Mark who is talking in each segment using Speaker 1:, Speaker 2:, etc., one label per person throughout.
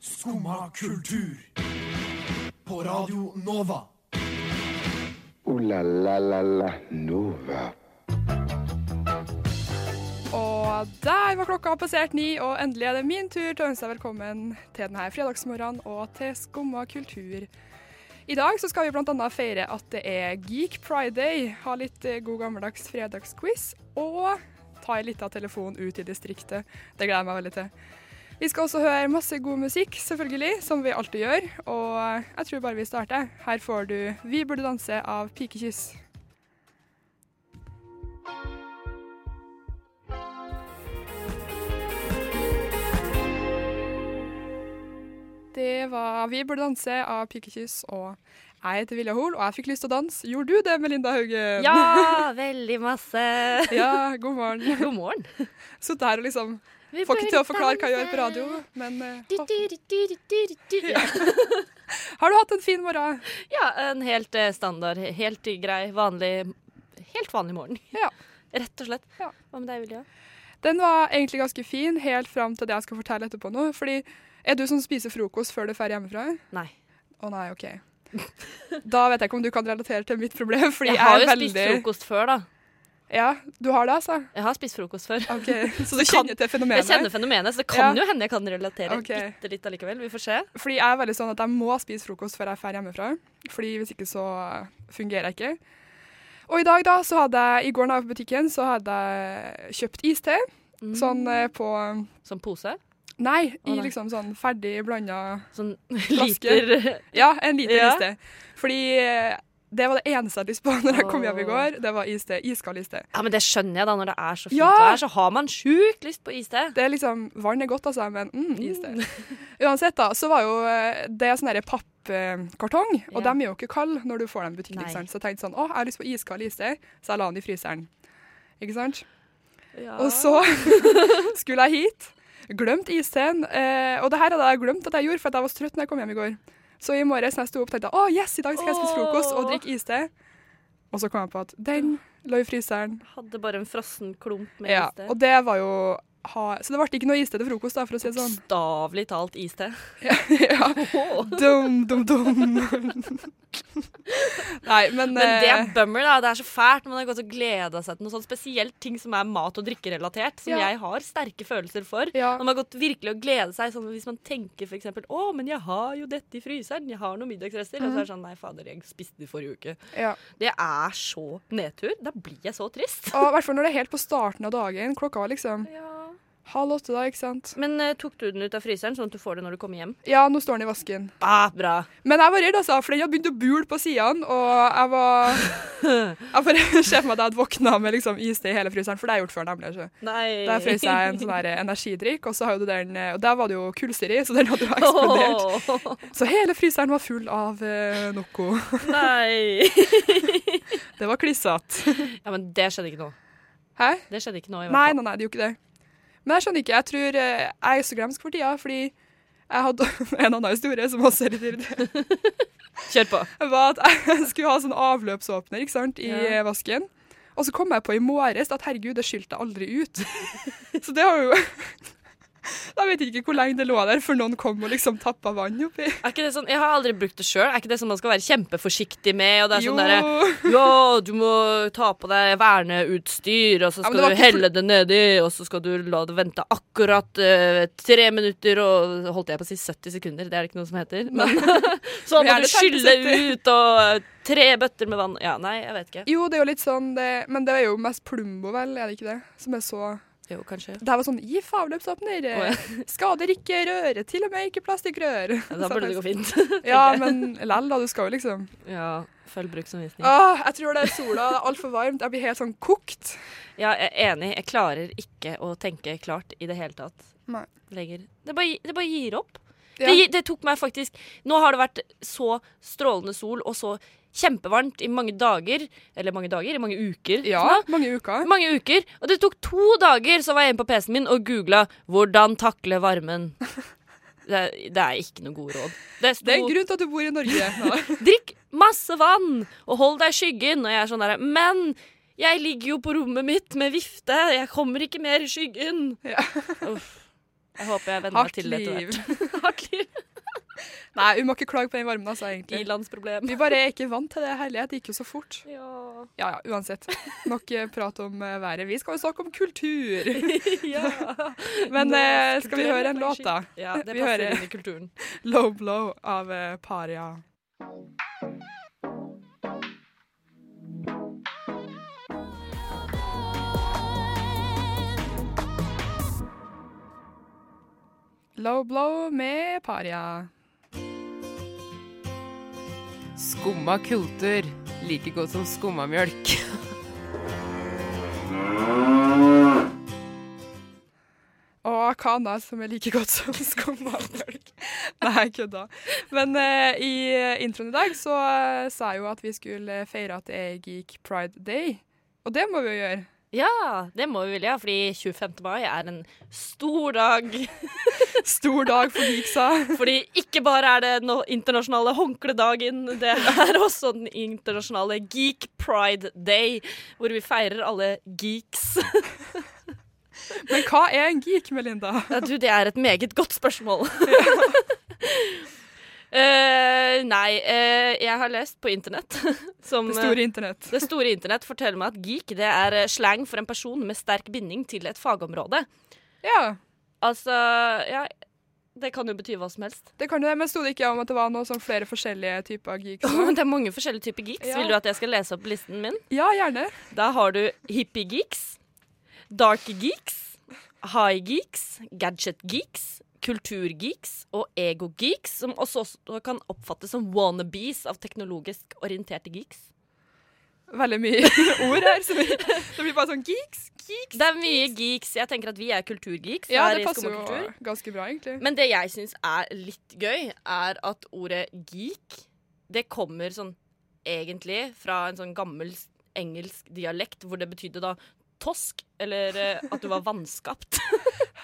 Speaker 1: Skumma kultur. På Radio Nova.
Speaker 2: Ooh la la la la Nova.
Speaker 3: Og der var klokka passert ni, og endelig er det min tur til å ønske deg velkommen til denne fredagsmorgenen og til Skumma kultur. I dag så skal vi bl.a. feire at det er Geek Friday, ha litt eh, god gammeldags fredagsquiz og ta en liten telefon ut i distriktet. Det gleder jeg meg veldig til. Vi skal også høre masse god musikk, selvfølgelig, som vi alltid gjør. Og jeg tror bare vi starter. Her får du 'Vi burde danse' av Pikekyss. Det var Vi burde danse av Pikekyss, og jeg heter Vilja Hoel, og jeg fikk lyst til å danse. Gjorde du det, Melinda Haugen?
Speaker 4: Ja, veldig masse.
Speaker 3: Ja, god morgen.
Speaker 4: God morgen.
Speaker 3: Sittet her og liksom
Speaker 4: Vi
Speaker 3: Får ikke til å forklare hva jeg gjør på radio, men eh,
Speaker 4: Du, du, du, du, du, du, du. Ja.
Speaker 3: Har du hatt en fin morgen?
Speaker 4: ja, en helt eh, standard, helt grei, vanlig Helt vanlig morgen.
Speaker 3: Ja.
Speaker 4: Rett og slett.
Speaker 3: Ja.
Speaker 4: Hva med deg, Vilja?
Speaker 3: Den var egentlig ganske fin, helt fram til det jeg skal fortelle etterpå nå. Fordi, er du som spiser frokost før du drar hjemmefra?
Speaker 4: Nei.
Speaker 3: Å nei, OK. Da vet jeg ikke om du kan relatere til mitt problem, fordi
Speaker 4: Jeg har
Speaker 3: er
Speaker 4: jo
Speaker 3: veldig
Speaker 4: spist frokost før, da.
Speaker 3: Ja, du har det, altså?
Speaker 4: Jeg har spist frokost før.
Speaker 3: OK, så du
Speaker 4: det kan-
Speaker 3: kjenner til
Speaker 4: Jeg
Speaker 3: fenomenet?
Speaker 4: kjenner fenomenet, så det kan
Speaker 3: Ja.
Speaker 4: jo hende jeg kan relatere
Speaker 3: Ok.
Speaker 4: bitte litt allikevel. Vi får se.
Speaker 3: Fordi jeg er veldig sånn at jeg må spise frokost før jeg drar hjemmefra. Fordi hvis ikke så eh, fungerer jeg ikke. Og i dag da, så hadde jeg, i går da jeg var på butikken, så hadde jeg kjøpt iste. Sånn eh, på,
Speaker 4: Som pose.
Speaker 3: nei, i
Speaker 4: Mm. nei.
Speaker 3: liksom sånn ferdig blandet,
Speaker 4: Sånn
Speaker 3: Flaske.
Speaker 4: liter
Speaker 3: ja, en liter
Speaker 4: Ja.
Speaker 3: iste. Fordi eh, det var det eneste jeg hadde lyst på når jeg kom hjem i
Speaker 4: Åh.
Speaker 3: går, det var iste, iskald iste.
Speaker 4: Ja, men det skjønner jeg, da. Når det er så fint
Speaker 3: Ja.
Speaker 4: vær, så har man sjukt lyst på iste.
Speaker 3: Det er liksom, vann er godt altså, men mm, iste. Uansett da, så var jo eh, det sånn der pappkartong, og
Speaker 4: Ja.
Speaker 3: dem er jo ikke kald når du får dem i butikken,
Speaker 4: Nei.
Speaker 3: ikke sant? Så jeg tenkte sånn, å, jeg har lyst på iskald iste, så jeg la den i fryseren. Ikke sant?
Speaker 4: Ja.
Speaker 3: Og så
Speaker 4: Ah.
Speaker 3: skulle jeg hit, glemt isten, eh, og det her hadde jeg glemt at jeg gjorde, for at jeg var så trøtt når jeg kom hjem i går. Så i morges når jeg sto opp, tenkte jeg, å yes, i dag skal jeg spise frokost og
Speaker 4: Åh.
Speaker 3: drikke iste. Og så kom jeg på at den lå i fryseren.
Speaker 4: Hadde bare en frossen klump med
Speaker 3: Ja,
Speaker 4: iste.
Speaker 3: og det var jo... Ha, så det ble ikke noe iste til frokost da, for å si det sånn.
Speaker 4: Bokstavelig talt iste.
Speaker 3: ja,
Speaker 4: Åh.
Speaker 3: Dum, dum, dum. Nei, men,
Speaker 4: Men det er
Speaker 3: eh,
Speaker 4: bummer, da. Det er så fælt. Man har gått og gleda seg til noe sånt. Spesielt ting som er mat- og drikkerelatert, som
Speaker 3: Ja.
Speaker 4: jeg har sterke følelser for.
Speaker 3: Ja.
Speaker 4: Når man har gått virkelig og gleda seg, sånn hvis man tenker f.eks.: Å, men jeg har jo dette i fryseren. Jeg har noen middagsrester. Og så er det sånn Nei, fader, jeg spiste det i forrige uke.
Speaker 3: eh, ja.
Speaker 4: Det er så nedtur. Da blir jeg så trist.
Speaker 3: Og i hvert fall når det er helt på starten av dagen. Klokka var liksom halv åtte da, ikke sant.
Speaker 4: Men eh, tok du den ut av fryseren, sånn at du får det når du kommer hjem?
Speaker 3: Ja, nå står den i vasken.
Speaker 4: Ah, bra.
Speaker 3: Men jeg var redd, altså, for den hadde begynt å bule på sidene, og jeg var Jeg bare ser for meg at jeg hadde våkna med liksom iste i hele fryseren, for det har jeg gjort før, nemlig. ikke?
Speaker 4: Nei.
Speaker 3: Der frøs jeg en sånn her energidrikk, og så har jo den, eh, og der var det jo kullsyre i, så den hadde jo eksplodert.
Speaker 4: Åh,
Speaker 3: Så hele fryseren var full av eh, Noco.
Speaker 4: nei.
Speaker 3: Det var klissete.
Speaker 4: Ja, men det skjedde ikke nå.
Speaker 3: Hæ?
Speaker 4: Det skjedde ikke nå, i hvert
Speaker 3: Nei,
Speaker 4: fall.
Speaker 3: nei, nei, det gjorde ikke det. Men jeg skjønner ikke. Jeg tror eh, jeg er så glemsk for tida, fordi jeg hadde en annen historie som også er litt irriterende.
Speaker 4: Kjør på.
Speaker 3: Var at jeg skulle ha sånn avløpsåpner ikke sant, i
Speaker 4: Ja.
Speaker 3: eh, vasken. Og så kom jeg på i morges at herregud, det skylte jeg aldri ut. Så det har jo Da vet jeg ikke hvor lenge det lå der før noen kom og liksom tappa vann oppi.
Speaker 4: Er ikke det sånn, jeg har aldri brukt det sjøl. Er ikke det sånn man skal være kjempeforsiktig med? Og det er
Speaker 3: Jo.
Speaker 4: sånn derre Ja, du må ta på deg verneutstyr, og så
Speaker 3: Ja, men
Speaker 4: skal
Speaker 3: det var
Speaker 4: du
Speaker 3: ikke for-
Speaker 4: helle det nedi, og så skal du la det vente akkurat eh, tre minutter og Holdt jeg på å si 70 sekunder, det er det ikke noe som heter. Men
Speaker 3: Vi
Speaker 4: sånn
Speaker 3: er
Speaker 4: at du
Speaker 3: det 50
Speaker 4: skylle
Speaker 3: sekunder.
Speaker 4: ut og eh, tre bøtter med vann Ja, nei, jeg vet ikke.
Speaker 3: Jo, det er jo litt sånn det, Men det er jo mest Plumbo, vel, er det ikke det? Som er så
Speaker 4: Jo, kanskje.
Speaker 3: Det her var sånn Gif avløpsåpner.
Speaker 4: Å,
Speaker 3: Skader ikke røret. Til og med ikke plastikkrør.
Speaker 4: Ja,
Speaker 3: Så
Speaker 4: da burde
Speaker 3: jeg
Speaker 4: det gå fint.
Speaker 3: Ja, men lell, da. Du skal jo liksom
Speaker 4: Ja, følg bruksanvisning.
Speaker 3: Åh, Jeg tror det er sola. Det er altfor varmt. Jeg blir helt sånn kokt.
Speaker 4: Ja, jeg er enig. Jeg klarer ikke å tenke klart i det hele tatt
Speaker 3: Nei.
Speaker 4: lenger. Det bare, det bare gir opp.
Speaker 3: Ja.
Speaker 4: Det, gi- det tok meg faktisk Nå har det vært så strålende sol og så kjempevarmt i mange dager. Eller mange dager, i mange uker.
Speaker 3: Ja,
Speaker 4: sånn da.
Speaker 3: mange uker.
Speaker 4: Mange uker. Og det tok to dager, så var jeg inne på PC-en min og googla 'hvordan takle varmen'. Det, er- det er ikke noe gode råd. Det sto
Speaker 3: Det er en grunn til at du bor i Norge. Nei.
Speaker 4: Drikk masse vann og hold deg i skyggen. Og jeg er sånn der, men jeg ligger jo på rommet mitt med vifte. Jeg kommer ikke mer i skyggen.
Speaker 3: Ja.
Speaker 4: Uff. Jeg håper jeg venner meg
Speaker 3: Hardt
Speaker 4: til det etter
Speaker 3: liv.
Speaker 4: hvert. Hardt liv.
Speaker 3: Nei, vi må ikke klage på den varmen, altså, egentlig.
Speaker 4: I-landsproblem.
Speaker 3: Vi bare er ikke vant til det. Herlighet, det gikk jo så fort.
Speaker 4: Ja.
Speaker 3: Ja ja, uansett. Nok eh, prat om eh, været. Vi skal jo snakke om kultur. Men eh, skal vi høre en låt, da?
Speaker 4: Ja, det
Speaker 3: Vi
Speaker 4: passer
Speaker 3: hører-
Speaker 4: inn i kulturen.
Speaker 3: Low Blow av eh, Paria. Low Blow med Paria.
Speaker 5: Skumma kultur. Like godt som skummamjølk.
Speaker 3: Og hva annet som er like godt som skummalmjølk? Nei, kødda. Men eh, i introen i dag så eh, sa jeg jo at vi skulle feire at det er Geek Pride Day. Og det må vi jo gjøre.
Speaker 4: Ja, det må vi vel, ja, fordi 25. mai er en stor dag.
Speaker 3: Stor dag for geeksa.
Speaker 4: Fordi ikke bare er det den internasjonale håndkledagen, det er også den internasjonale Geek Pride Day, hvor vi feirer alle geeks.
Speaker 3: Men hva er en geek, Melinda?
Speaker 4: Ja, du, det er et meget godt spørsmål. Eh, nei, eh, jeg har lest på internett som
Speaker 3: Det
Speaker 4: eh,
Speaker 3: store internett.
Speaker 4: Det store internett forteller meg at geek det er eh, slang for en person med sterk binding til et fagområde.
Speaker 3: Ja,
Speaker 4: Altså, ja Det kan jo bety hva som helst.
Speaker 3: det kan jo det. Men sto det ikke om at det var noe sånn flere forskjellige typer geeks?
Speaker 4: Det er mange forskjellige typer geeks.
Speaker 3: Ja.
Speaker 4: Vil du at jeg skal lese opp listen min?
Speaker 3: Ja, gjerne.
Speaker 4: Da har du hippie-geeks, dark-geeks, high-geeks, gadget-geeks, kultur-geeks og ego-geeks, som også, også kan oppfattes som wannabes av teknologisk orienterte geeks.
Speaker 3: Veldig mye ord her. Så vi, det blir bare sånn geeks.
Speaker 4: Det er mye geeks. Jeg tenker at vi er kulturgeeks.
Speaker 3: Ja,
Speaker 4: her
Speaker 3: det
Speaker 4: i
Speaker 3: passer
Speaker 4: Skumma kultur.
Speaker 3: jo ganske bra, egentlig.
Speaker 4: Men det jeg syns er litt gøy, er at ordet geek Det kommer sånn egentlig fra en sånn gammel s- engelsk dialekt hvor det betydde da tosk, eller eh, at du var vanskapt.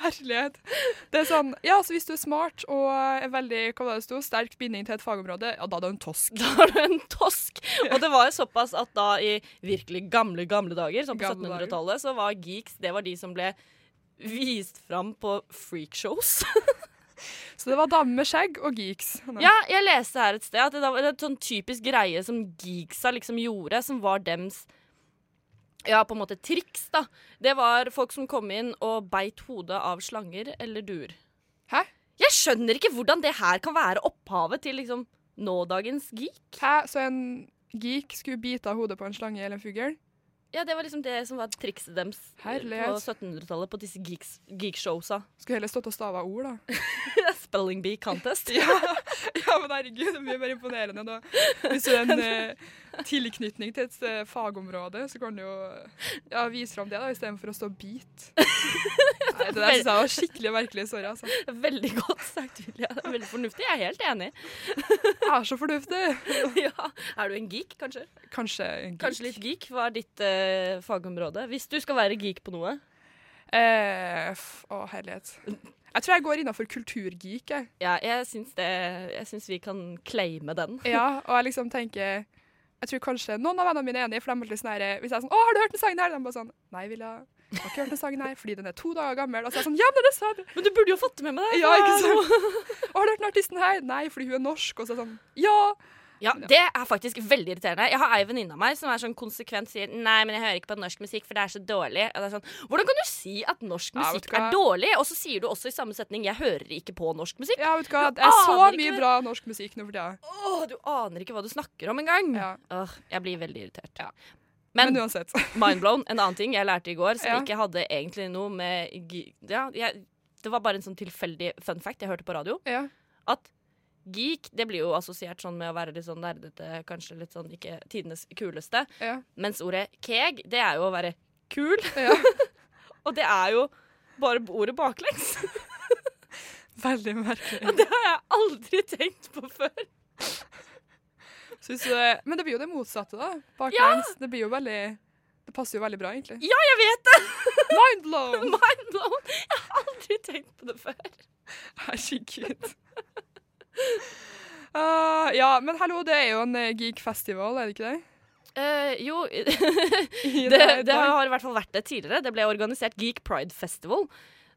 Speaker 3: Herlighet. Det er sånn, ja, så hvis du er smart og eh, er veldig, hva var det det sto, sterk binding til et fagområde, ja, da er du en tosk.
Speaker 4: Da var du en tosk. Og det var jo såpass at da i virkelig gamle, gamle dager, sånn på
Speaker 3: Gamle dager.
Speaker 4: 1700-tallet, så var geeks det var de som ble vist fram på freakshows.
Speaker 3: Så det var damer med skjegg og geeks. Nei.
Speaker 4: Ja, jeg leste her et sted at det da var en sånn typisk greie som geeksa liksom gjorde, som var dems ja, på en måte triks, da. Det var folk som kom inn og beit hodet av slanger eller duer.
Speaker 3: Hæ?
Speaker 4: Jeg skjønner ikke hvordan det her kan være opphavet til liksom nådagens geek.
Speaker 3: Hæ? Så en geek skulle bite av hodet på en slange eller en fugl?
Speaker 4: Ja, det var liksom det som var trikset dems
Speaker 3: Herlighet.
Speaker 4: på 1700-tallet, på disse geeks, geekshowsa.
Speaker 3: Skulle heller stått og stava ord, da.
Speaker 4: Spelling bee contest.
Speaker 3: Ja, men herregud, det er mye mer imponerende da. Hvis du er en eh, tilknytning til et eh, fagområde, så kan du jo ja, vise fram det, da, istedenfor å stå og bite. Nei, det der synes jeg var skikkelig merkelig. Sorry, altså.
Speaker 4: Veldig godt sagt, Julia. Det er Veldig fornuftig. Jeg er helt enig.
Speaker 3: Jeg er så fornuftig.
Speaker 4: Ja. Er du en geek, kanskje?
Speaker 3: Kanskje en geek.
Speaker 4: Kanskje litt geek. Hva er ditt eh, fagområde? Hvis du skal være geek på noe.
Speaker 3: Eh, f- å, herlighet. Jeg tror jeg går innafor kulturgeek, jeg.
Speaker 4: Ja, jeg syns, det, jeg syns vi kan claime den.
Speaker 3: Ja, og jeg liksom tenker Jeg tror kanskje noen av vennene mine er enige, for de er alltid sånn her Hvis jeg er sånn 'Å, har du hørt den sangen her?' De bare sånn 'Nei, Vilja, jeg har ikke hørt den sangen her, fordi den er to dager gammel.' Og så er jeg sånn 'Ja, men det sa du!'
Speaker 4: Men du burde jo fått det med meg.
Speaker 3: Ja, ikke sant? 'Å, har du hørt den artisten her?' 'Nei, fordi hun er norsk.' Og så er jeg sånn 'Ja!'
Speaker 4: Ja, Det er faktisk veldig irriterende. Jeg har ei venninne av meg som er sånn konsekvent sier Nei, men jeg hører ikke på norsk musikk, for det er så dårlig. Og det er sånn, Hvordan kan du si at norsk
Speaker 3: Ja, vet
Speaker 4: musikk
Speaker 3: du hva?
Speaker 4: er dårlig? Og så sier du også i samme setning Jeg hører ikke på norsk musikk.
Speaker 3: Ja, vet du hva,
Speaker 4: Du
Speaker 3: det er så
Speaker 4: aner ikke
Speaker 3: mye
Speaker 4: hva-
Speaker 3: bra norsk musikk nå for tida.
Speaker 4: Åh, du aner ikke hva du snakker om engang.
Speaker 3: Ja.
Speaker 4: Åh, jeg blir veldig irritert.
Speaker 3: Men
Speaker 4: Men
Speaker 3: uansett.
Speaker 4: Mindblown, en annen ting jeg lærte i går som
Speaker 3: Ja.
Speaker 4: ikke hadde egentlig noe med ge- ja, jeg, Det var bare en sånn tilfeldig fun fact jeg hørte på radio.
Speaker 3: Ja.
Speaker 4: At geek det blir jo assosiert sånn med å være litt sånn nerdete, kanskje litt sånn ikke tidenes kuleste.
Speaker 3: Ja.
Speaker 4: Mens ordet keg, det er jo å være kul.
Speaker 3: ja.
Speaker 4: Og det er jo bare ordet baklengs.
Speaker 3: Veldig merkelig.
Speaker 4: Og det har jeg aldri tenkt på før.
Speaker 3: Synes du det? Men det blir jo det motsatte, da. Baklengs. Det blir jo veldig Det passer jo veldig bra, egentlig.
Speaker 4: Ja, jeg vet det!
Speaker 3: Mind blown!
Speaker 4: Mindblown. Jeg har aldri tenkt på det før.
Speaker 3: Herregud. Ah, ja, men hallo, det er jo en eh, geek-festival, er det ikke det?
Speaker 4: Eh, jo,
Speaker 3: I
Speaker 4: det,
Speaker 3: dag.
Speaker 4: det har i hvert fall vært det tidligere. Det ble organisert Geek Pride Festival.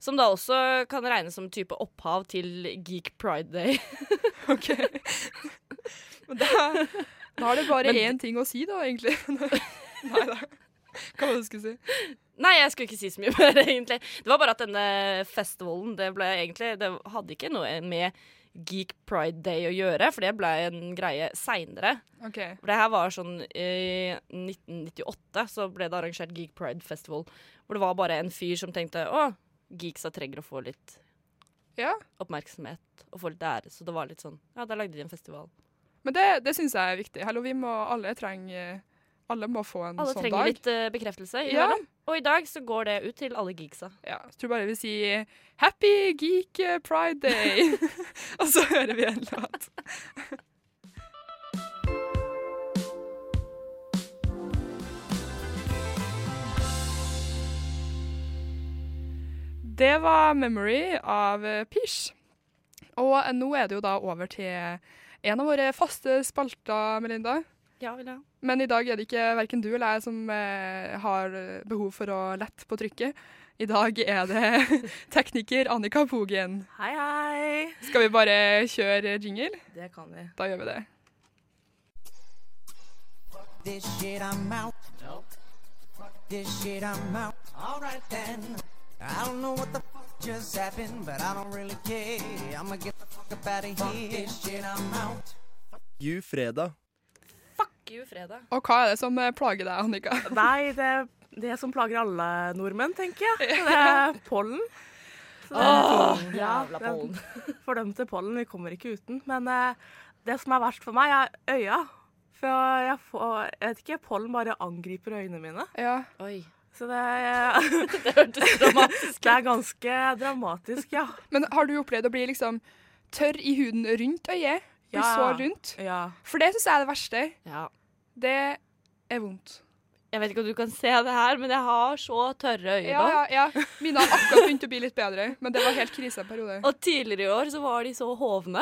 Speaker 4: Som da også kan regnes som type opphav til Geek Pride Day.
Speaker 3: OK. Men da, da er det bare
Speaker 4: Men-
Speaker 3: én ting å si, da, egentlig. Nei da. Hva var det du skulle si?
Speaker 4: Nei, jeg skulle ikke si så mye mer, egentlig. Det var bare at denne festivalen, det ble egentlig Det hadde ikke noe med Geek Pride Day å gjøre, for det ble en greie seinere.
Speaker 3: OK.
Speaker 4: For det her var sånn I 1998 så ble det arrangert Geek Pride Festival. Hvor det var bare en fyr som tenkte å, geeksa trenger å få litt
Speaker 3: Ja.
Speaker 4: oppmerksomhet og få litt ære. Så det var litt sånn Ja, da lagde de en festival.
Speaker 3: Men det, det syns jeg er viktig. Hallo, vi må alle trenger Alle må få en
Speaker 4: Alle
Speaker 3: sånn
Speaker 4: trenger
Speaker 3: dag.
Speaker 4: litt eh, bekreftelse.
Speaker 3: Ja.
Speaker 4: innimellom. Og i dag så går det ut til alle geeksa.
Speaker 3: Ja, jeg tror bare vi sier Happy Geek Pride Day! og så hører vi en låt. Det var 'Memory' av eh, Pish. Og eh, nå er det jo da over til en av våre faste spalter, Melinda.
Speaker 4: Ja, ja.
Speaker 3: Men i dag er det ikke verken du eller jeg som eh, har behov for å lette på trykket. I dag er det tekniker Annika Pogen.
Speaker 6: Hei, hei!
Speaker 3: Skal vi bare kjøre jingle?
Speaker 6: Det kan vi.
Speaker 3: Da gjør vi det.
Speaker 7: this shit, I'm out. Fuck this shit, I'm out. Alright then. I don't know what the fuck just happened, but I don't really care. I'ma get the fuck up out of here. this shit, I'm out.
Speaker 1: Ju fredag.
Speaker 4: Fuck you, fredag.
Speaker 3: Og hva er det som eh, plager deg, Annika?
Speaker 6: Nei, det er det som plager alle nordmenn, tenker jeg. Det er pollen. Så det er pollen. Ja,
Speaker 4: Jævla
Speaker 6: den
Speaker 4: pollen.
Speaker 6: Fordømte pollen. Vi kommer ikke uten. Men eh, det som er verst for meg, er øya. For jeg får Jeg vet ikke, pollen bare angriper øynene mine.
Speaker 3: Ja.
Speaker 4: Oi.
Speaker 6: Så det, er-
Speaker 4: Det hørtes dramatisk
Speaker 6: det er ganske dramatisk, ja.
Speaker 3: Men har du opplevd å bli liksom tørr i huden rundt øyet? Bli
Speaker 6: Ja.
Speaker 3: sår rundt?
Speaker 6: ja.
Speaker 3: For det syns jeg er det verste.
Speaker 4: Ja.
Speaker 3: Det er vondt.
Speaker 4: Jeg vet ikke om du kan se det her, men jeg har så tørre øyebånd.
Speaker 3: Ja, ja, ja. Mine har akkurat begynt å bli litt bedre, men det var helt krise en periode.
Speaker 4: Og tidligere i år så var de så hovne.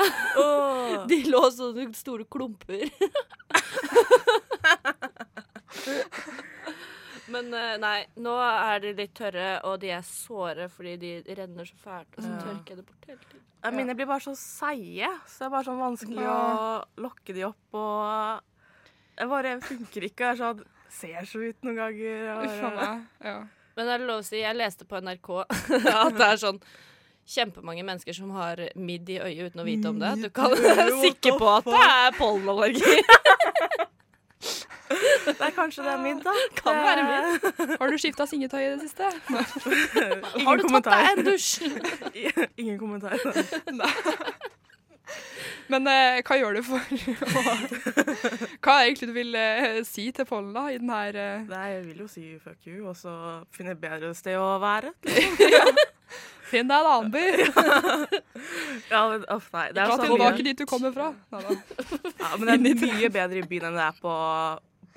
Speaker 4: De lå sånne store klumper. Men eh, nei, nå er de litt tørre, og de er såre fordi de renner så fælt. Og så tørker jeg det bort hele tiden.
Speaker 6: Ja, Mine blir bare så seige, så det er bare sånn vanskelig å lokke de opp. Og jeg bare funker ikke. Jeg er sånn, ser så ut noen ganger. og
Speaker 3: Uff a
Speaker 6: bare-
Speaker 3: meg. Ja.
Speaker 4: Men det er lov å si, jeg leste på NRK at det er sånn kjempemange mennesker som har midd i øyet uten å vite om det. Du kan være sikker på at det er pollenallergi.
Speaker 6: Det er kanskje det er mitt, da.
Speaker 4: Kan være
Speaker 6: mitt.
Speaker 3: Har du skifta singetøy i det siste?
Speaker 6: Eh, Ingen
Speaker 4: Har du tatt
Speaker 6: kommentar.
Speaker 4: deg en dusj?
Speaker 6: Ingen kommentar.
Speaker 3: Men eh, hva gjør du for å Hva er egentlig du vil eh, si til pollen da, i den her eh,
Speaker 6: Nei, jeg vil jo si fuck you, og så finne et bedre sted å være.
Speaker 3: Finn deg en annen by!
Speaker 6: Ja, men uff, nei. Det er
Speaker 3: Dra
Speaker 6: så
Speaker 3: tilbake
Speaker 6: mye,
Speaker 3: dit du kommer fra. Neida.
Speaker 6: ja, men det er mye bedre i byen enn det er på,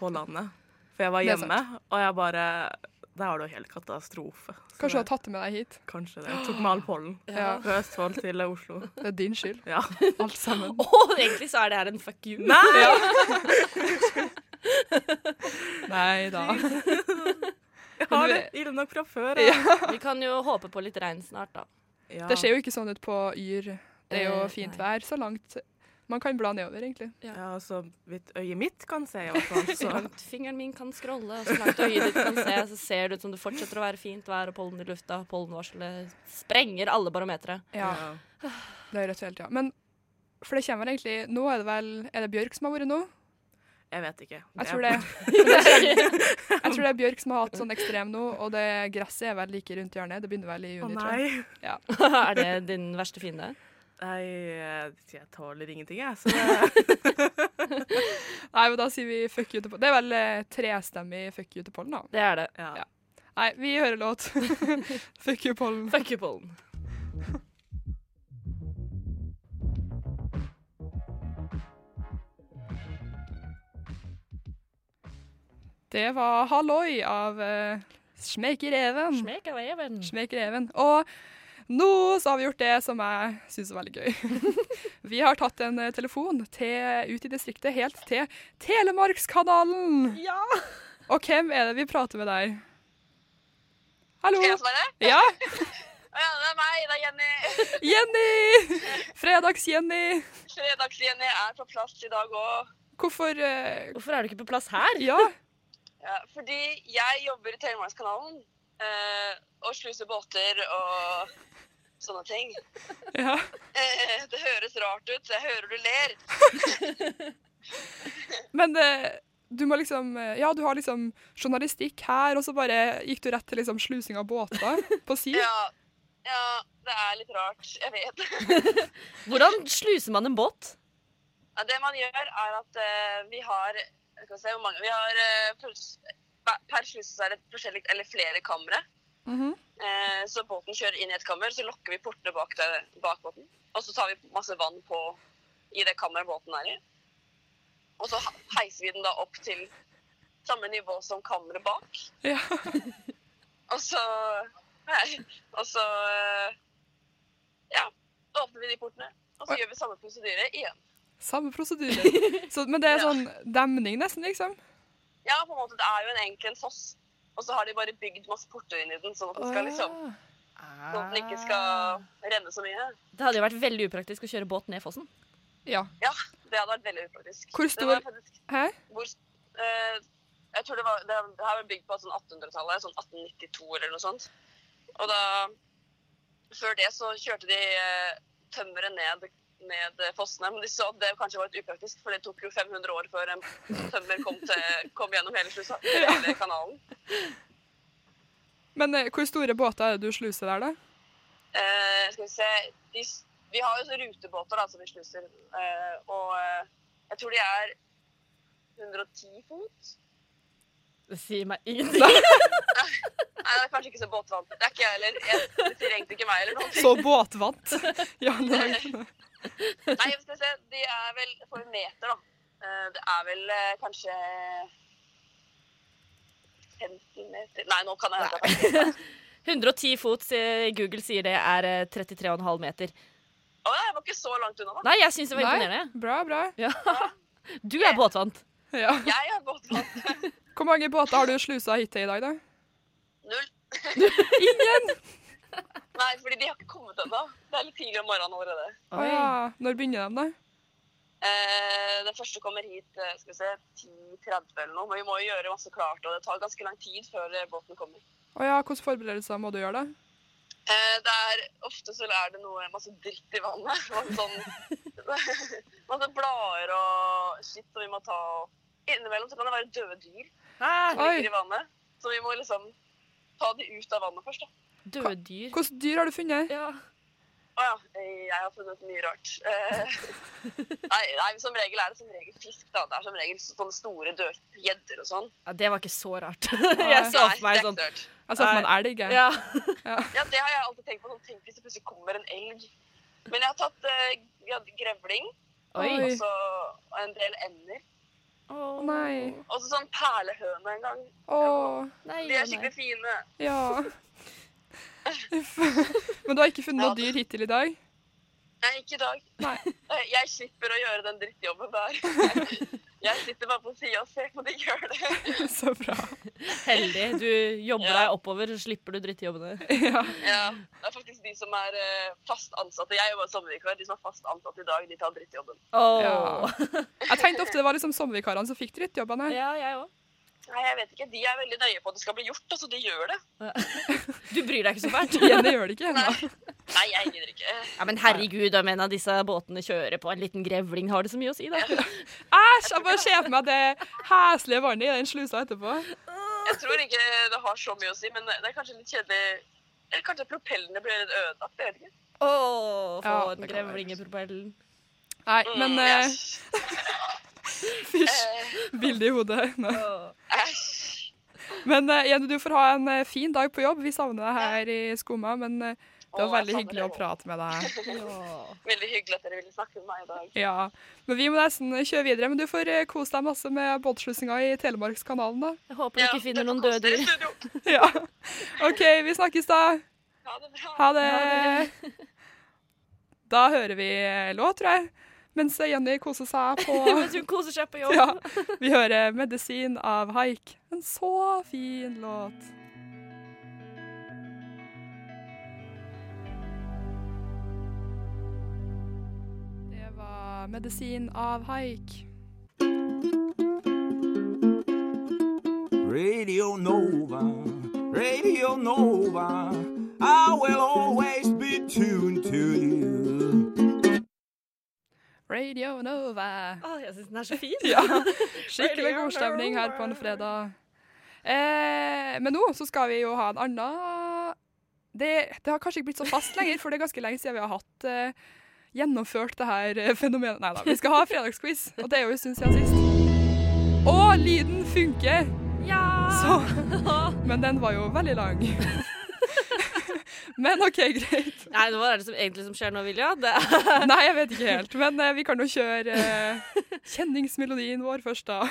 Speaker 6: på landet. For jeg var
Speaker 3: Det er sant.
Speaker 6: hjemme, og jeg bare Der var det jo helt katastrofe. Så
Speaker 3: Kanskje du har
Speaker 6: det-
Speaker 3: tatt det med deg hit.
Speaker 6: Kanskje det. Jeg tok med all pollen.
Speaker 3: Ja.
Speaker 6: Fra Østfold til Oslo.
Speaker 3: Det er din skyld,
Speaker 6: Ja.
Speaker 3: alt sammen.
Speaker 4: Å, egentlig så er det her en fuck you.
Speaker 6: Nei!
Speaker 3: Nei da.
Speaker 6: Jeg har det ille nok fra før.
Speaker 4: Vi kan jo håpe på litt regn snart, da.
Speaker 6: Ja.
Speaker 3: Det ser jo ikke sånn ut på Yr. Det er jo
Speaker 4: Eh,
Speaker 3: fint
Speaker 4: nei.
Speaker 3: vær så langt man kan bla nedover, egentlig.
Speaker 6: Ja, så vidt øyet mitt kan se, i hvert fall.
Speaker 4: Så
Speaker 6: Så
Speaker 4: langt fingeren min kan scrolle, og så langt øyet ditt kan se, så ser det ut som det fortsetter å være fint vær og pollen i lufta. Pollenvarselet sprenger alle barometere.
Speaker 3: Ja, det er rett og helt, ja. Men for det kommer vel egentlig Nå er det vel Er det Bjørk som har vært nå?
Speaker 6: Jeg vet ikke.
Speaker 3: Jeg tror det. Men det er- Jeg tror det er Bjørk som har hatt sånn ekstrem nå, og det gresset er vel like rundt hjørnet. Det begynner vel i
Speaker 6: Å
Speaker 3: juni, tror jeg.
Speaker 6: nei.
Speaker 4: er det din verste fiende?
Speaker 6: Nei, jeg- jeg tåler ingenting, jeg. Så det,
Speaker 3: Nei, men da sier vi fuck you til pollen. Det er vel eh, trestemmig fuck you til pollen, da.
Speaker 4: Det er det.
Speaker 6: ja.
Speaker 3: Ja. Nei, vi hører låt. fuck you, pollen.
Speaker 4: Fuck you, pollen.
Speaker 3: Det var Halloi av uh, Smekreven.
Speaker 4: Smek av even.
Speaker 3: Smekreven. Og nå så har vi gjort det som jeg syns er veldig gøy. vi har tatt en eh, telefon til, ut i distriktet, helt til Telemarkskanalen.
Speaker 4: Ja!
Speaker 3: Og hvem er det vi prater med der? Hallo?
Speaker 8: Skal jeg svare?
Speaker 3: Ja,
Speaker 8: ja, det er meg, det er Jenny.
Speaker 3: Jenny! Fredags-Jenny.
Speaker 8: Fredags-Jenny er på plass i dag òg.
Speaker 3: Hvorfor eh,
Speaker 4: Hvorfor er du ikke på plass her?
Speaker 3: Ja.
Speaker 8: Ja, fordi jeg jobber i Telemarkskanalen eh, og sluser båter og sånne ting.
Speaker 3: ja.
Speaker 8: Eh, det høres rart ut, så jeg hører du ler.
Speaker 3: Men eh, du må liksom eh, Ja, du har liksom journalistikk her, og så bare gikk du rett til liksom slusing av båter på si.
Speaker 8: Ja, ja det er litt rart. Jeg vet.
Speaker 4: Hvordan sluser man en båt?
Speaker 8: Ja, det man gjør, er at eh, vi har jeg skal se hvor mange, vi har eh, pers- Per sluse så er det forskjellig, eller flere kamre.
Speaker 3: Mhm.
Speaker 8: Eh, så båten kjører inn i et kammer, så lukker vi portene bak, det, bak båten. Og så tar vi masse vann på i det kammeret båten er i. Og så he- heiser vi den da opp til samme nivå som kammeret bak.
Speaker 3: Ja.
Speaker 8: Og så nei, Og så eh, ja, åpner vi de portene. Og så gjør vi samme prosedyre igjen.
Speaker 3: Samme prosedyre. Så, men det er
Speaker 8: Ja.
Speaker 3: sånn demning, nesten, liksom.
Speaker 8: Ja, på en måte, det er jo en enkel en foss. Og så har de bare bygd masse porter inn i den, sånn at den, skal, liksom,
Speaker 3: Ah.
Speaker 8: sånn at den ikke skal renne så mye.
Speaker 4: Det hadde jo vært veldig upraktisk å kjøre båt ned fossen.
Speaker 3: Ja.
Speaker 8: Ja, det hadde vært veldig upraktisk.
Speaker 3: Hvor
Speaker 8: Det var
Speaker 3: stor-
Speaker 8: faktisk,
Speaker 3: Hæ?
Speaker 8: hvor, eh, jeg tror det var Det, det her var bygd på sånn 1800-tallet, sånn 1892 eller noe sånt. Og da Før det så kjørte de eh, tømmeret ned, ned fossene, men de sa at det kanskje var litt upraktisk, for det tok jo 500 år før en tømmer kom, til, kom gjennom hele, slusa, hele kanalen.
Speaker 3: Men eh, hvor store båter er det du sluser der, da?
Speaker 8: Eh, skal vi se de, s- Vi har jo så rutebåter da, som vi sluser. Eh, og eh, jeg tror de er 110 fot.
Speaker 4: Det sier meg ingenting.
Speaker 8: Nei, det er kanskje ikke så båtvant. Det er ikke jeg heller. Jeg, det sier egentlig ikke meg eller noe.
Speaker 3: Så båtvant. ja, nei.
Speaker 8: Nei, skal vi se. De er vel for en meter, da. Eh, det er vel eh, kanskje 15 meter Nei, nå kan jeg hente meg.
Speaker 4: 110 fot, sier- Google sier det er eh, 33,5 meter.
Speaker 8: Å, nei, jeg var ikke så langt unna, da.
Speaker 4: Nei, jeg syns det var
Speaker 3: nei.
Speaker 4: imponerende.
Speaker 3: Bra, bra.
Speaker 4: Du er båtvant.
Speaker 3: Ja.
Speaker 8: Jeg er båtvant.
Speaker 3: Hvor mange båter har du slusa hittil i dag, da?
Speaker 8: Null. Ingen? Nei, fordi de har ikke kommet ennå. Det er litt tidlig om morgenen allerede.
Speaker 3: Å ja. Når begynner de, da?
Speaker 8: Eh, den første kommer hit eh, skal vi se, 10.30 eller noe, men vi må jo gjøre masse klart, og det tar ganske lang tid før eh, båten kommer.
Speaker 3: Å ja, hvilke forberedelser må du gjøre, da?
Speaker 8: Eh, det er, ofte så er det noe, masse dritt i vannet. Masse, sånn, masse blader og skitt som vi må ta. og Innimellom så kan det være døde dyr
Speaker 6: Ah,
Speaker 8: som
Speaker 3: Oi.
Speaker 8: ligger i vannet. Så vi må liksom ta de ut av vannet først. da.
Speaker 4: Døde dyr.
Speaker 3: Hvilke dyr har du funnet?
Speaker 4: Ja.
Speaker 8: Å ja, eh, jeg har funnet mye rart. Eh, nei, nei, som regel er det som regel fisk. da. Det er som regel sånne store døde gjedder og sånn.
Speaker 4: Ja, det var ikke så rart. Jeg så
Speaker 8: Nei,
Speaker 4: for meg
Speaker 8: det er
Speaker 4: sånn
Speaker 8: ikke rart.
Speaker 3: Jeg sa at man elg. jeg.
Speaker 4: ja.
Speaker 8: Ja, det har jeg alltid tenkt på. Sånn, tenk hvis det plutselig kommer en elg. Men jeg har tatt eh, ja, grevling
Speaker 4: Oi.
Speaker 8: og så en del ender.
Speaker 3: Å nei.
Speaker 8: Og så sånn perlehøne en gang.
Speaker 3: Å,
Speaker 4: Nei,
Speaker 8: De er skikkelig fine.
Speaker 3: ja. Uff. Men du har ikke funnet noe dyr hittil i dag?
Speaker 8: Nei, ikke i dag.
Speaker 3: Nei.
Speaker 8: Eh, Jeg slipper å gjøre den drittjobben der. Jeg sitter bare på sida og ser på de gjør det.
Speaker 3: Så bra.
Speaker 4: Heldig. Du jobber
Speaker 8: Ja.
Speaker 4: deg oppover, så slipper du drittjobbene.
Speaker 3: Ja.
Speaker 8: Ja, det er faktisk de som er eh, fast ansatte. Jeg jobber sommervikar. De som er fast ansatte i dag, de tar drittjobben.
Speaker 4: Åh.
Speaker 3: Ja. Jeg tenkte ofte det var liksom sommervikarene som fikk drittjobbene.
Speaker 4: Ja, jeg òg.
Speaker 8: Nei, jeg vet ikke. De er veldig nøye på at det skal bli gjort, altså. De gjør det.
Speaker 4: Du bryr deg ikke så fælt.
Speaker 3: Jenny gjør det ikke ennå.
Speaker 8: Nei, Nei jeg gidder ikke.
Speaker 4: Ja, men herregud, om en av disse båtene kjører på en liten grevling, har det så mye å si, da?
Speaker 3: Æsj! Jeg bare ser for meg det heslige vannet i den slusa etterpå.
Speaker 8: Jeg tror ikke det har så mye å si, men det er kanskje litt kjedelig. Eller kanskje propellene blir litt ødelagt. Jeg vet ikke.
Speaker 4: Å, få
Speaker 3: Ja,
Speaker 4: en
Speaker 3: det kan være.
Speaker 4: grevling i propellen.
Speaker 3: Nei,
Speaker 8: Mm,
Speaker 3: men eh,
Speaker 8: Æsj.
Speaker 3: fysj.
Speaker 8: Eh,
Speaker 3: Bilde i hodet. Nei.
Speaker 8: Æsj.
Speaker 3: Men eh, Jenny, du får ha en eh, fin dag på jobb. Vi savner deg her i Skumma, men eh, det var
Speaker 8: Å, jeg
Speaker 3: veldig
Speaker 8: savner
Speaker 3: hyggelig å
Speaker 8: dere
Speaker 3: prate med deg.
Speaker 8: Veldig hyggelig at dere ville snakke med meg i dag.
Speaker 3: Ja, men Vi må nesten kjøre videre, men du får eh, kose deg masse med båtslussinga i Telemarkskanalen, da.
Speaker 4: Jeg håper du ikke finner noen døde dyr.
Speaker 8: dyr.
Speaker 3: Ja. OK, vi snakkes da.
Speaker 8: Ha det bra.
Speaker 3: Ha det! Da hører vi eh, låt, tror jeg. Mens eh, Jenny koser seg på
Speaker 4: Mens hun koser seg på jobb.
Speaker 3: Ja. Vi hører 'Medisin' av Haik. En så fin låt. låta 'Medisin' av Haik.
Speaker 9: Radio Nova, Radio Nova, I will always be tuned to you.
Speaker 3: Radio Nova.
Speaker 4: Å, jeg syns den er så fin.
Speaker 3: Skikkelig god stemning her på en fredag. Eh, men nå så skal vi jo ha en annen det, det har kanskje ikke blitt så fast lenger, for det er ganske lenge siden vi har hatt eh, gjennomført det her eh, fenomenet. Nei da, vi skal ha fredagsquiz, og det er jo en stund siden sist. Og lyden funker! Så, men den var jo veldig lang. men OK, greit.
Speaker 4: Nei, hva er det som egentlig som skjer nå, Vilja? Det er
Speaker 3: Nei, jeg vet ikke helt. Men eh, vi kan jo kjøre eh, kjenningsmelodien vår først, da.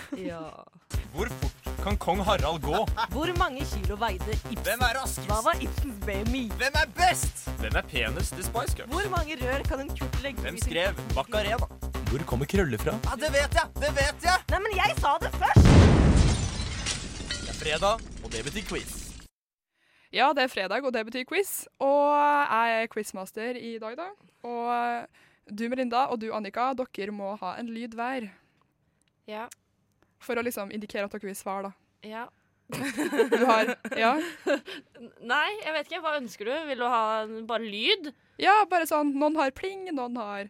Speaker 10: Hvor fort kan kong Harald gå?
Speaker 11: Hvor mange kilo veide Ibsen?
Speaker 10: Hvem er raskest?
Speaker 11: Hva var Ibsens BMI?
Speaker 10: Hvem er best? Hvem er penest i Spice Cup?
Speaker 11: Hvor mange rør kan en kurt legge
Speaker 10: Hvem
Speaker 11: ut i-
Speaker 10: skrev Macarena? Hvor kommer krøller fra? Ja, Det vet jeg! Det vet jeg!
Speaker 11: Nei, men jeg sa det først!
Speaker 10: Det er fredag, og det betyr quiz.
Speaker 3: Ja, det er fredag, og det betyr quiz. Og jeg er quizmaster i dag, da. Og du, Melinda, og du, Annika, dere må ha en lyd hver.
Speaker 4: Ja.
Speaker 3: For å liksom indikere at dere vil svare, da.
Speaker 4: ja.
Speaker 3: Du har Ja,
Speaker 4: Nei, jeg vet ikke. Hva ønsker du? Vil du ha en- bare lyd?
Speaker 3: ja bare sånn Noen har pling, noen har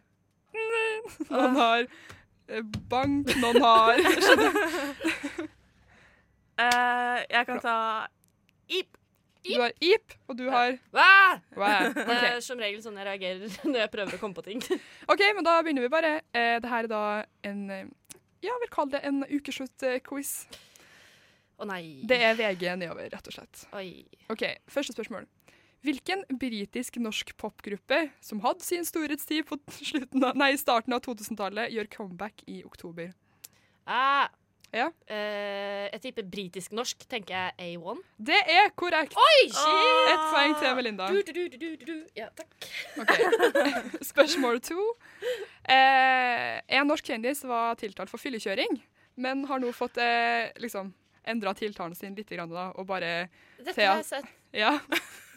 Speaker 3: Noen har eh, bank, noen har
Speaker 6: Eh, jeg kan ta ip.
Speaker 3: Du har ip, og du har
Speaker 4: Hva?
Speaker 3: wow.
Speaker 4: Det
Speaker 3: OK.
Speaker 4: er som regel sånn jeg reagerer når jeg prøver å komme på ting.
Speaker 3: Ok, men da begynner vi bare. Eh, det her er da en eh, Ja, vil kalle det en ukeslutt-quiz.
Speaker 4: Å nei.
Speaker 3: Det er VG nedover, rett og slett.
Speaker 4: Oi.
Speaker 3: Ok, Første spørsmål. Hvilken britisk-norsk popgruppe som hadde sin storhetstid på slutten av, nei, starten av 2000-tallet, gjør comeback i oktober?
Speaker 4: Ah.
Speaker 3: Ja.
Speaker 4: Eh, jeg tipper britisk-norsk, tenker jeg A1.
Speaker 3: Det er korrekt!
Speaker 4: Oi, shit!
Speaker 3: Ett poeng til Melinda.
Speaker 4: Du, du, du, du, du, du. Ja, takk.
Speaker 3: Ok. Spørsmål to. Eh, en norsk kjendis var tiltalt for fyllekjøring, men har nå fått eh, liksom, endra tiltalen sin litt grann, da, og bare
Speaker 4: Dette
Speaker 3: Thea.
Speaker 4: har jeg sett.
Speaker 3: Ja.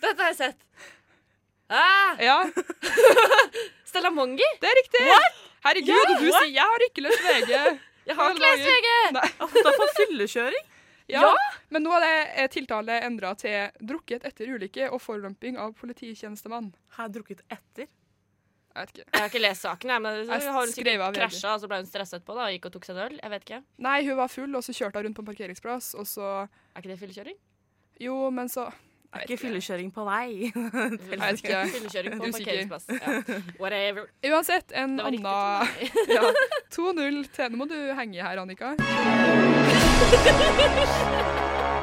Speaker 4: Dette har jeg sett. Ah,
Speaker 3: ja.
Speaker 4: Stella Mongi?
Speaker 3: Det er riktig! Herregud, og du sier 'jeg har ikke løst VG'.
Speaker 4: Jeg har ikke lest VG!
Speaker 6: Ofte for fyllekjøring.
Speaker 3: Ja, Men nå er det er tiltale endra til 'drukket etter ulykke og forulemping av polititjenestemann'.
Speaker 6: Har jeg drukket etter?
Speaker 3: Jeg vet ikke.
Speaker 4: Jeg har ikke lest saken, jeg, men
Speaker 3: Jeg
Speaker 4: så har hun
Speaker 3: skrev av
Speaker 4: sikkert
Speaker 3: VG.
Speaker 4: krasja, og så ble hun stressa etterpå da, og gikk og tok seg en øl. Jeg vet ikke.
Speaker 3: Nei, hun var full, og så kjørte hun rundt på en parkeringsplass, og så
Speaker 4: Er ikke det fyllekjøring?
Speaker 3: Jo, men så
Speaker 6: Er ikke fyllekjøring på vei.
Speaker 3: Jeg vet ikke.
Speaker 4: Fyllekjøring på en
Speaker 3: Usikker.
Speaker 4: parkeringsplass. Ja. Whatever.
Speaker 3: Uansett, en
Speaker 4: Det var
Speaker 3: annen
Speaker 4: riktig.
Speaker 3: ja,
Speaker 4: til meg.
Speaker 3: 2-0 til Nå må du henge i her, Annika.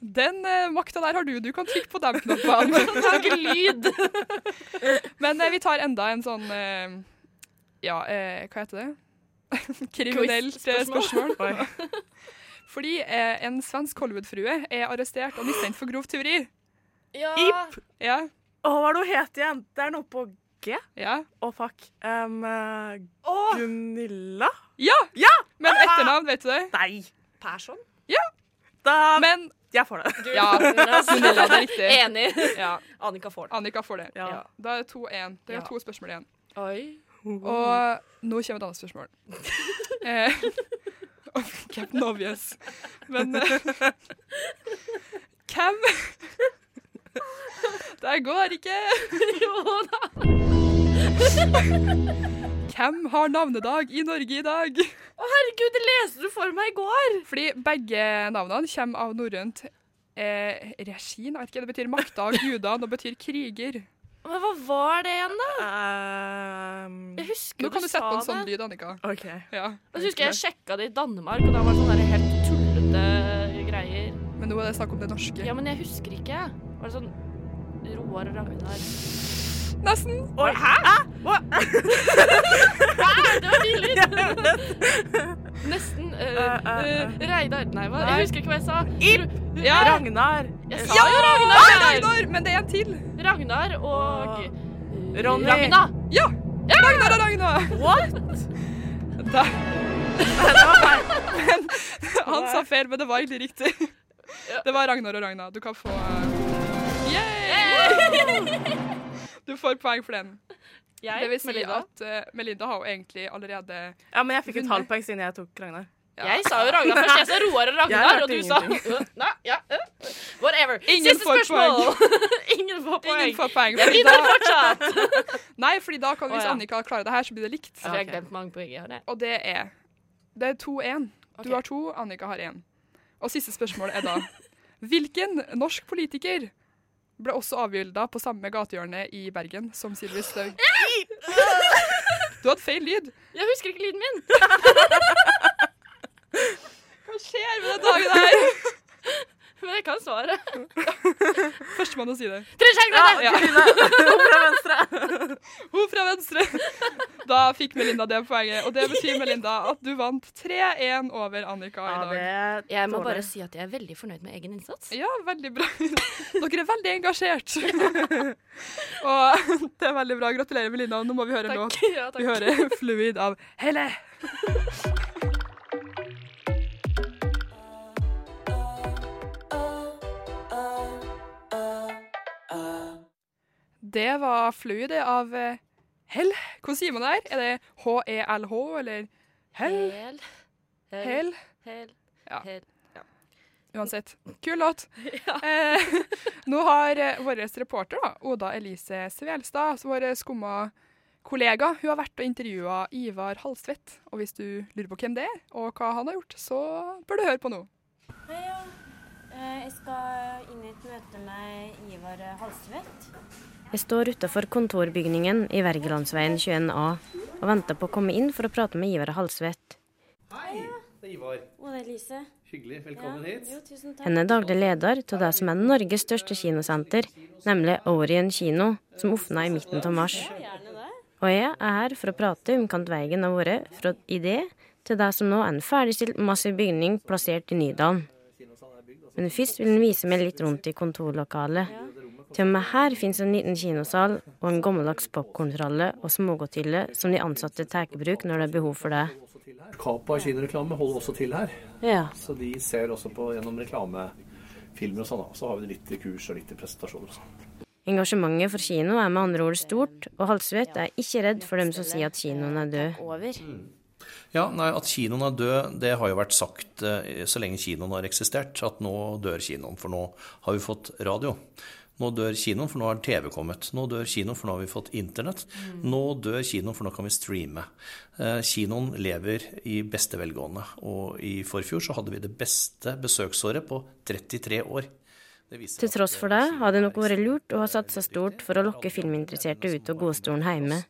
Speaker 3: Den eh, makta der har du. Du kan trykke på de knappene.
Speaker 4: Det var ikke lyd.
Speaker 3: Men eh, vi tar enda en sånn eh, Ja, eh, hva heter det? Kriminelt eh, spørsmål.
Speaker 4: Quiz-spørsmål.
Speaker 3: Fordi eh, en svensk Hollywood-frue er arrestert og mistenkt for grov tyveri.
Speaker 4: Ja.
Speaker 6: Ip.
Speaker 3: Ja,
Speaker 6: Å, hva er det hun heter igjen? Det er noe på G. Å,
Speaker 3: ja.
Speaker 6: fuck. Um, eh, Gunilla?
Speaker 3: Ja! Men etternavn, vet du det?
Speaker 6: Nei.
Speaker 4: Persson?
Speaker 6: Da,
Speaker 3: Men
Speaker 6: jeg får det.
Speaker 4: Du,
Speaker 3: Ja, Gunilla, det er riktig.
Speaker 4: Enig.
Speaker 3: ja,
Speaker 4: Annika får den.
Speaker 3: Annika får det.
Speaker 6: Ja.
Speaker 3: Da er det 2-1. Det er
Speaker 4: Ja.
Speaker 3: to spørsmål igjen.
Speaker 4: Oi.
Speaker 3: Og nå kommer et annet spørsmål. Eh, oh, Captain Obvious. Men eh, Hvem Det her går ikke!
Speaker 4: Jo da.
Speaker 3: Hvem har navnedag i Norge i dag?
Speaker 4: Å herregud, det leste du for meg i går!
Speaker 3: Fordi begge navnene kommer av norrønt eh, regin. Jeg vet ikke, det betyr makta av gudene og betyr kriger.
Speaker 4: Men hva var det igjen, da?
Speaker 6: Um,
Speaker 4: Jeg husker
Speaker 3: Nå kan du sette på en
Speaker 4: sa
Speaker 3: sånn
Speaker 4: det.
Speaker 3: lyd, Annika.
Speaker 6: OK.
Speaker 3: Ja.
Speaker 4: Og så husker jeg jeg sjekka det i Danmark, og da var det sånne der helt tullete greier.
Speaker 3: Men nå er det snakk om det norske.
Speaker 4: Ja, men jeg husker ikke. Var det sånn Roar og Ragnar
Speaker 3: Nesten.
Speaker 6: Oi. Hæ?
Speaker 4: Nei, det var din lyd! Nesten eh,
Speaker 6: Eh, eh, eh.
Speaker 4: Reidar Nei, hva? jeg husker ikke hva jeg sa.
Speaker 3: Ja,
Speaker 6: Ragnar.
Speaker 4: Jeg sa jo Ragnar!
Speaker 3: Ragnar! Men det er en til.
Speaker 4: Ragnar og
Speaker 6: Ronny.
Speaker 4: Ragna.
Speaker 3: Ja! Ragnar og Ragnar.
Speaker 6: What?
Speaker 3: Da. Men han sa feil, men det var egentlig riktig. Det var Ragnar og Ragnar. Du kan få eh, Yay! Du får poeng for den.
Speaker 12: Jeg?
Speaker 3: det vil si
Speaker 12: Melinda?
Speaker 3: at eh, Melinda har jo egentlig allerede
Speaker 6: Ja, men jeg fikk et halvt poeng siden jeg tok Ragnar.
Speaker 12: Jeg sa jo Ragnar først. Jeg sa Roar og
Speaker 6: Jeg
Speaker 12: Ragnar,
Speaker 6: hørte
Speaker 12: og du sa
Speaker 6: ingenting.
Speaker 12: Øh, Nei, ja, øh, Whatever.
Speaker 3: Ingen
Speaker 12: Siste
Speaker 3: får
Speaker 12: spørsmål. Ingen får poeng.
Speaker 3: Ingen får poeng.
Speaker 12: Jeg
Speaker 3: fordi
Speaker 12: vinner
Speaker 3: da-
Speaker 12: fortsatt.
Speaker 3: Nei, fordi da kan,
Speaker 12: Å,
Speaker 3: hvis
Speaker 12: ja.
Speaker 3: Annika klarer det her, så blir det likt.
Speaker 12: Jeg har glemt mange poeng jeg har. det.
Speaker 3: Og det er Det er 2-1.
Speaker 12: Ok.
Speaker 3: Du har to, Annika har én. Og siste spørsmål er da Hvilken norsk politiker ble også avbilda på samme gatehjørne i Bergen som Sylvi Listhaug? Du hadde feil lyd.
Speaker 12: Jeg husker ikke lyden min.
Speaker 3: Hva skjer med den dagen her?
Speaker 12: Men jeg kan svaret.
Speaker 3: Førstemann å si det.
Speaker 12: Trine Skei Grande!
Speaker 3: Ja.
Speaker 6: Hun fra venstre.
Speaker 3: Hun fra venstre. Da fikk Melinda det poenget, og det betyr Melinda at du vant 3-1 over Annika i dag.
Speaker 12: Jeg må bare si at jeg er veldig fornøyd med egen innsats.
Speaker 3: Ja, veldig bra. Dere er veldig engasjert. og det er veldig bra. Gratulerer, Melinda. Nå må vi høre en låt.
Speaker 12: Ja, takk.
Speaker 3: Vi hører 'Fluid' av Hele. Det var 'Fluid' av eh, Hell. Hvordan sier man det her? Er det H-E-L-H, eller Hell?
Speaker 12: Hel.
Speaker 3: Hell?
Speaker 12: Hel.
Speaker 3: Ja.
Speaker 12: Hel.
Speaker 3: Uansett, kul låt. Eh, nå har eh, vår reporter, da, Oda Elise Svelstad, altså vår skumma kollega, hun har vært og intervjua Ivar Halstvedt. Og hvis du lurer på hvem det er, og hva han har gjort, så bør du høre på nå.
Speaker 13: Hei, ja. Eh, Jeg skal inn i et møte med Ivar Halsvedt.
Speaker 4: Jeg står utafor kontorbygningen i Wergelandsveien 21A og venter på å komme inn for å prate med Ivar Halsvedt.
Speaker 13: Hei!
Speaker 14: Det er Ivar.
Speaker 13: Oda Elise.
Speaker 14: Hyggelig. Velkommen
Speaker 13: Ja,
Speaker 14: hit.
Speaker 13: Jo, tusen takk.
Speaker 4: Henne er daglig leder til det som er Norges største kinosenter, nemlig Orion kino, som åpna i midten av mars. Og jeg er her for å prate om hvordan veien har vært fra idé til det som nå er en ferdigstilt massiv bygning plassert i Nydalen.
Speaker 14: altså.
Speaker 4: Men først vil hun vise meg litt rundt i kontorlokalet. Til og med her fins en liten kinosal og en gammeldags popkorntralle og smågodthylle som de ansatte tar i bruk når det er behov for det.
Speaker 14: Kapa kinoreklame holder også til her.
Speaker 4: Ja.
Speaker 14: Så de ser også på gjennom reklamefilmer og sånn. da. Så har vi det litt i kurs og litt i presentasjoner og sånn.
Speaker 4: Engasjementet for kino er med andre ord stort, og Halsvedt er ikke redd for dem som sier at kinoen er død.
Speaker 10: Ja, nei, At kinoen er død, det har jo vært sagt eh, så lenge kinoen har eksistert. At nå dør kinoen, for nå har vi fått radio. Nå dør kinoen, for nå har TV kommet. Nå dør kinoen, for nå har vi fått internett. Nå dør kinoen, for nå kan vi streame. Eh, Kinoen lever i beste velgående. Og i forfjor så hadde vi det beste besøksåret på 33 år.
Speaker 4: Til tross for det har det nok vært lurt å ha satsa stort for å lokke filminteresserte ut av godstolen hjemme.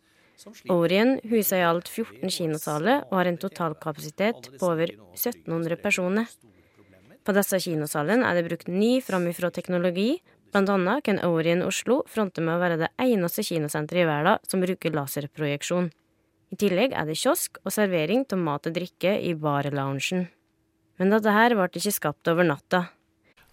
Speaker 4: Orien huser i alt 14 kinosaler og har en totalkapasitet på over 1700 personer. På disse kinosalene er det brukt ny framifrå teknologi, bl.a. kan Orien Oslo fronte med å være det eneste kinosenteret i verden som bruker laserprojeksjon. I tillegg er det kiosk og servering av mat og drikke i barloungen. Men dette her ble ikke skapt over natta.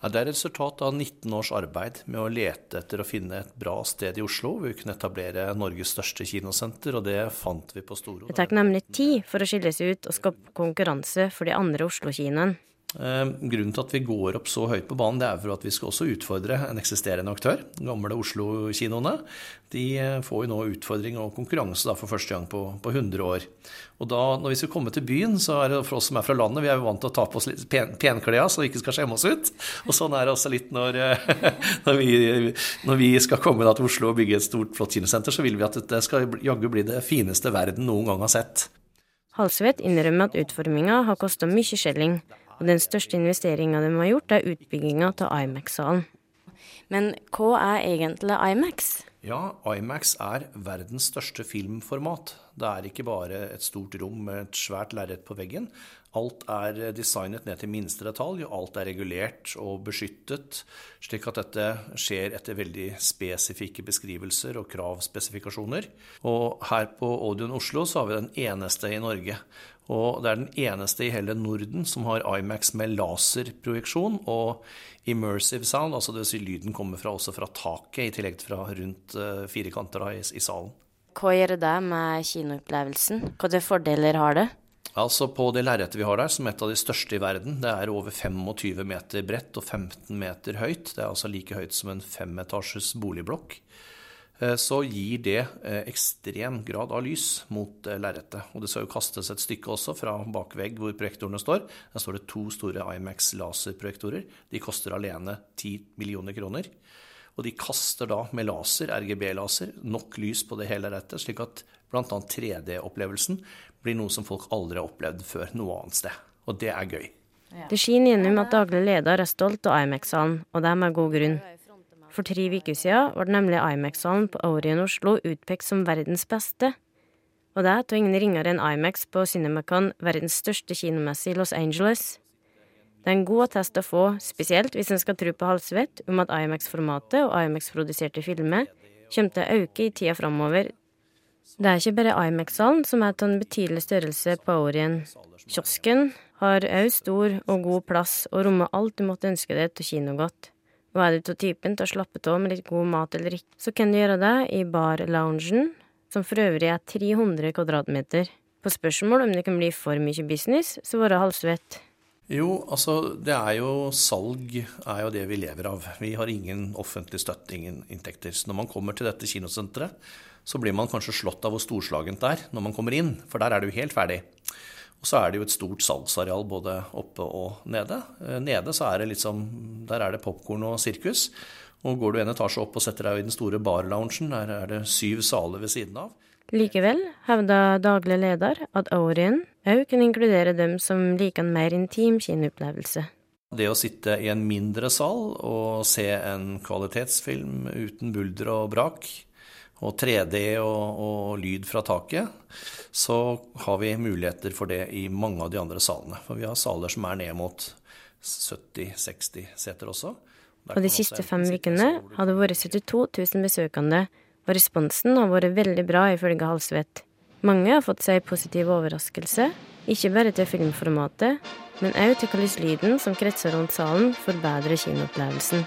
Speaker 10: Ja, Det er et resultat av 19 års arbeid med å lete etter å finne et bra sted i Oslo. hvor Vi kunne etablere Norges største kinosenter, og det fant vi på Storo.
Speaker 4: Det tar nemlig tid for å skille seg ut og skape konkurranse for de andre Oslo-kinoene.
Speaker 10: Eh, Grunnen til at vi går opp så høyt på banen, det er for at vi skal også utfordre en eksisterende aktør. De gamle Oslo-kinoene. De eh, får jo nå utfordring og konkurranse da, for første gang på, på 100 år. Og da, når vi skal komme til byen, så er det for oss som er fra landet, vi er jo vant til å ta på oss litt pen, penklærne så vi ikke skal skjemme oss ut. Og sånn er det også litt når, eh, når, vi, når vi skal komme da til Oslo og bygge et stort, flott kinosenter, så vil vi at det skal jaggu bli det fineste verden noen gang har sett.
Speaker 4: Halsvedt innrømmer at utforminga har kosta mye skjelling, og den største investeringa de har gjort, er utbygginga av Imax-salen. Men hva er egentlig Imax?
Speaker 10: Ja, IMAX er verdens største filmformat. Det er ikke bare et stort rom med et svært lerret på veggen. Alt er designet ned til minste detalj, og alt er regulert og beskyttet, slik at dette skjer etter veldig spesifikke beskrivelser og kravspesifikasjoner. Og her på Audion Oslo så har vi den eneste i Norge. Og det er den eneste i hele Norden som har Imax med laserprojeksjon og immersive sound, altså det vil si lyden kommer fra, også fra taket, i tillegg til fra rundt eh, fire kanter da, i, i salen.
Speaker 4: Hva gjør det med kinoopplevelsen? Hvilke fordeler har det?
Speaker 10: Altså På det lerretet vi har der, som er et av de største i verden, det er over 25 meter bredt og 15 meter høyt. Det er altså like høyt som en femetasjes boligblokk. eh, så gir det eh, ekstrem grad av lys mot eh, lerretet. Og det skal jo kastes et stykke også fra bakvegg hvor projektorene står. Der står det to store Imax laserprojektorer. De koster alene 10 millioner kroner. Og de kaster da med laser, RGB-laser, nok lys på det hele lerretet, slik at bl.a. 3D-opplevelsen blir noe som folk aldri har opplevd før noe annet sted. Og det er gøy.
Speaker 4: Det skinner gjennom at daglig leder er stolt av Imax-salen, og det er med god grunn. For tre uker siden ble nemlig Imax-salen på Orion Oslo utpekt som verdens beste. Og det er av ingen ringere enn Imax på Cinemacon, verdens største kinomesse i Los Angeles. Det er en god attest å få, spesielt hvis en skal tro på Halsvedt, om at Imax-formatet og Imax-produserte filmer kommer til å øke i tida framover. Det er ikke bare Imax-salen som er av en betydelig størrelse på Orien. Kiosken har òg stor og god plass og rommer alt du måtte ønske deg av kinogodt. Og er du av typen til å slappe av med litt god mat eller drikke, så kan du gjøre det i bar-loungen, som for øvrig er 300 kvadratmeter. På spørsmål om det kan bli for mye business, så være halvsvett.
Speaker 10: Jo, altså det er jo salg er jo det vi lever av. Vi har ingen offentlig støtte, ingen inntekter. Så når man kommer til dette kinosenteret, så blir man kanskje slått av hvor storslagent det er når man kommer inn, for der er det jo helt ferdig. Og så er det jo et stort salgsareal både oppe og nede. Eh, Nede så er det liksom, der er det popkorn og sirkus. Og går du en etasje opp og setter deg i den store barloungen, der er det syv saler ved siden av.
Speaker 4: Likevel hevda daglig leder at Orien òg kan inkludere dem som liker en mer intim kinoopplevelse.
Speaker 10: Det å sitte i en mindre sal og se en kvalitetsfilm uten bulder og brak, og 3D og, og lyd fra taket, så har vi muligheter for det i mange av de andre salene. For vi har saler som er ned mot 70-60 seter også.
Speaker 4: Og de siste fem ukene har det vært 72 000 besøkende, og responsen har vært veldig bra, ifølge Halsvedt. Mange har fått seg positiv overraskelse, ikke bare til filmformatet, men òg til hvordan lyden som kretser rundt salen, forbedrer kinoopplevelsen.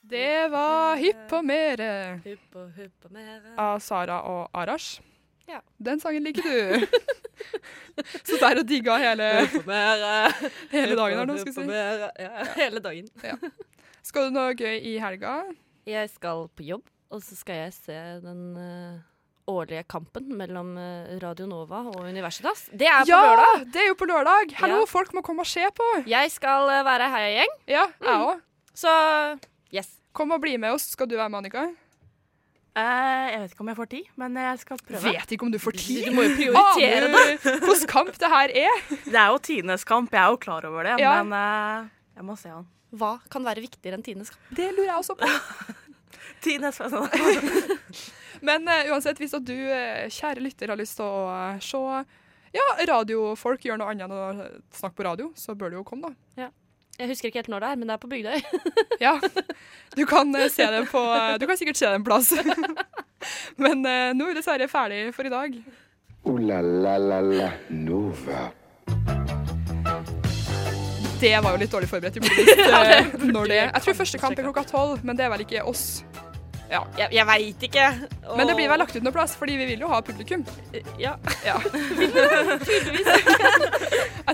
Speaker 3: Det var Hypp på mere
Speaker 15: Hypp og hypp og mere.
Speaker 3: av Sara og Arash.
Speaker 15: Ja.
Speaker 3: Den sangen liker du. Så der og digga hele,
Speaker 15: Hypp og mere.
Speaker 3: hele dagen her nå,
Speaker 15: Hypp
Speaker 3: skal
Speaker 15: og
Speaker 3: jeg si.
Speaker 15: mere. Ja, hele dagen.
Speaker 3: Skal du noe gøy i helga?
Speaker 15: Jeg skal på jobb, og så skal jeg se den eh, årlige kampen mellom eh, Radio Nova og Universitas. Det er på
Speaker 3: ja,
Speaker 15: lørdag.
Speaker 3: det er jo på lørdag. Hallo,
Speaker 15: Ja.
Speaker 3: folk må komme og se på.
Speaker 15: Jeg skal eh, være heiagjeng.
Speaker 3: Ja, jeg
Speaker 15: Mm.
Speaker 3: òg.
Speaker 15: Så yes.
Speaker 3: Kom og bli med oss. Skal du være med, Annika?
Speaker 6: Eh, jeg vet ikke om jeg får tid, men jeg skal prøve.
Speaker 3: Vet ikke om du får tid.
Speaker 6: Du må jo prioritere
Speaker 3: Aner du Hvordan kamp det her er?
Speaker 6: Det er jo tidenes kamp, jeg er jo klar over det,
Speaker 3: Ja.
Speaker 6: men eh, jeg må se han.
Speaker 15: Hva kan være viktigere enn tidenes kamp?
Speaker 3: Det lurer jeg også på.
Speaker 6: Tidenes
Speaker 3: Men eh, uansett, hvis at du, eh, kjære lytter, har lyst til å eh, se ja, radiofolk gjør noe annet enn å eh, snakke på radio, så bør du jo komme, da.
Speaker 15: Ja. Jeg husker ikke helt når det er, men det er på Bygdøy.
Speaker 3: Du kan eh, se det på eh, Du kan sikkert se det en plass. Men eh, nå er dessverre ferdig for i dag.
Speaker 2: Ooh la la la la Nova.
Speaker 3: Det var jo litt dårlig forberedt. Jeg burde visst eh, når det Jeg tror første kamp er klokka tolv, men det er vel ikke oss. Ja.
Speaker 15: Jeg, jeg veit ikke.
Speaker 3: Men det blir vel lagt ut noe plass, fordi vi vil jo ha publikum.
Speaker 15: Ja.
Speaker 3: Ja. Jeg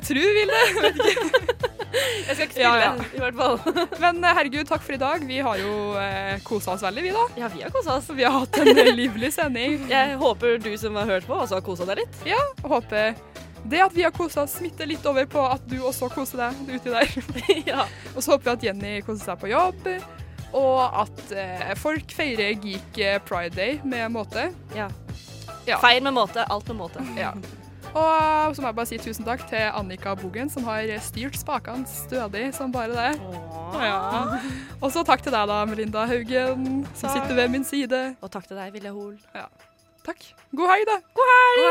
Speaker 3: tror vi vil det. vet ikke.
Speaker 15: Jeg skal ikke spille,
Speaker 3: Ja, ja.
Speaker 15: i hvert fall.
Speaker 3: Men eh, herregud, takk for i dag. Vi har jo eh, kosa oss veldig, vi da.
Speaker 15: Ja, vi har kosa oss.
Speaker 3: Vi har hatt en livlig sending.
Speaker 15: Jeg håper du som har hørt på, også har kosa deg litt.
Speaker 3: Ja, og håper det at vi har kosa oss, smitter litt over på at du også koser deg uti der. Og så håper vi at Jenny koser seg på jobb, og at eh, folk feirer Geek eh, Pride Day med måte.
Speaker 15: Ja.
Speaker 3: Ja.
Speaker 15: Feir med måte, alt med måte.
Speaker 3: Ja. Og eh, så må jeg bare si tusen takk til Annika Bogen, som har styrt spakene stødig som bare det. Ja. Og så takk til deg, da, Melinda Haugen, som
Speaker 15: Takk.
Speaker 3: sitter ved min side.
Speaker 15: Og takk til deg, Vilja Hoel.
Speaker 3: Ja. Takk. God helg, da. God
Speaker 6: helg!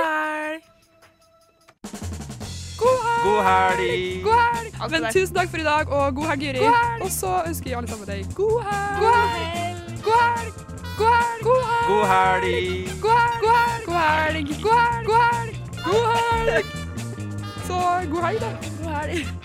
Speaker 16: God helg!
Speaker 3: God helg!
Speaker 16: Alt
Speaker 3: Men
Speaker 16: til deg.
Speaker 3: tusen takk for i dag, og god helg, Juri. Og så ønsker vi alle sammen deg god helg! God helg! God helg! God helg! God helg!
Speaker 16: God helg!
Speaker 3: God helg! God helg! God helg! God helg! God helg! God helg! Så god helg, da. God helg.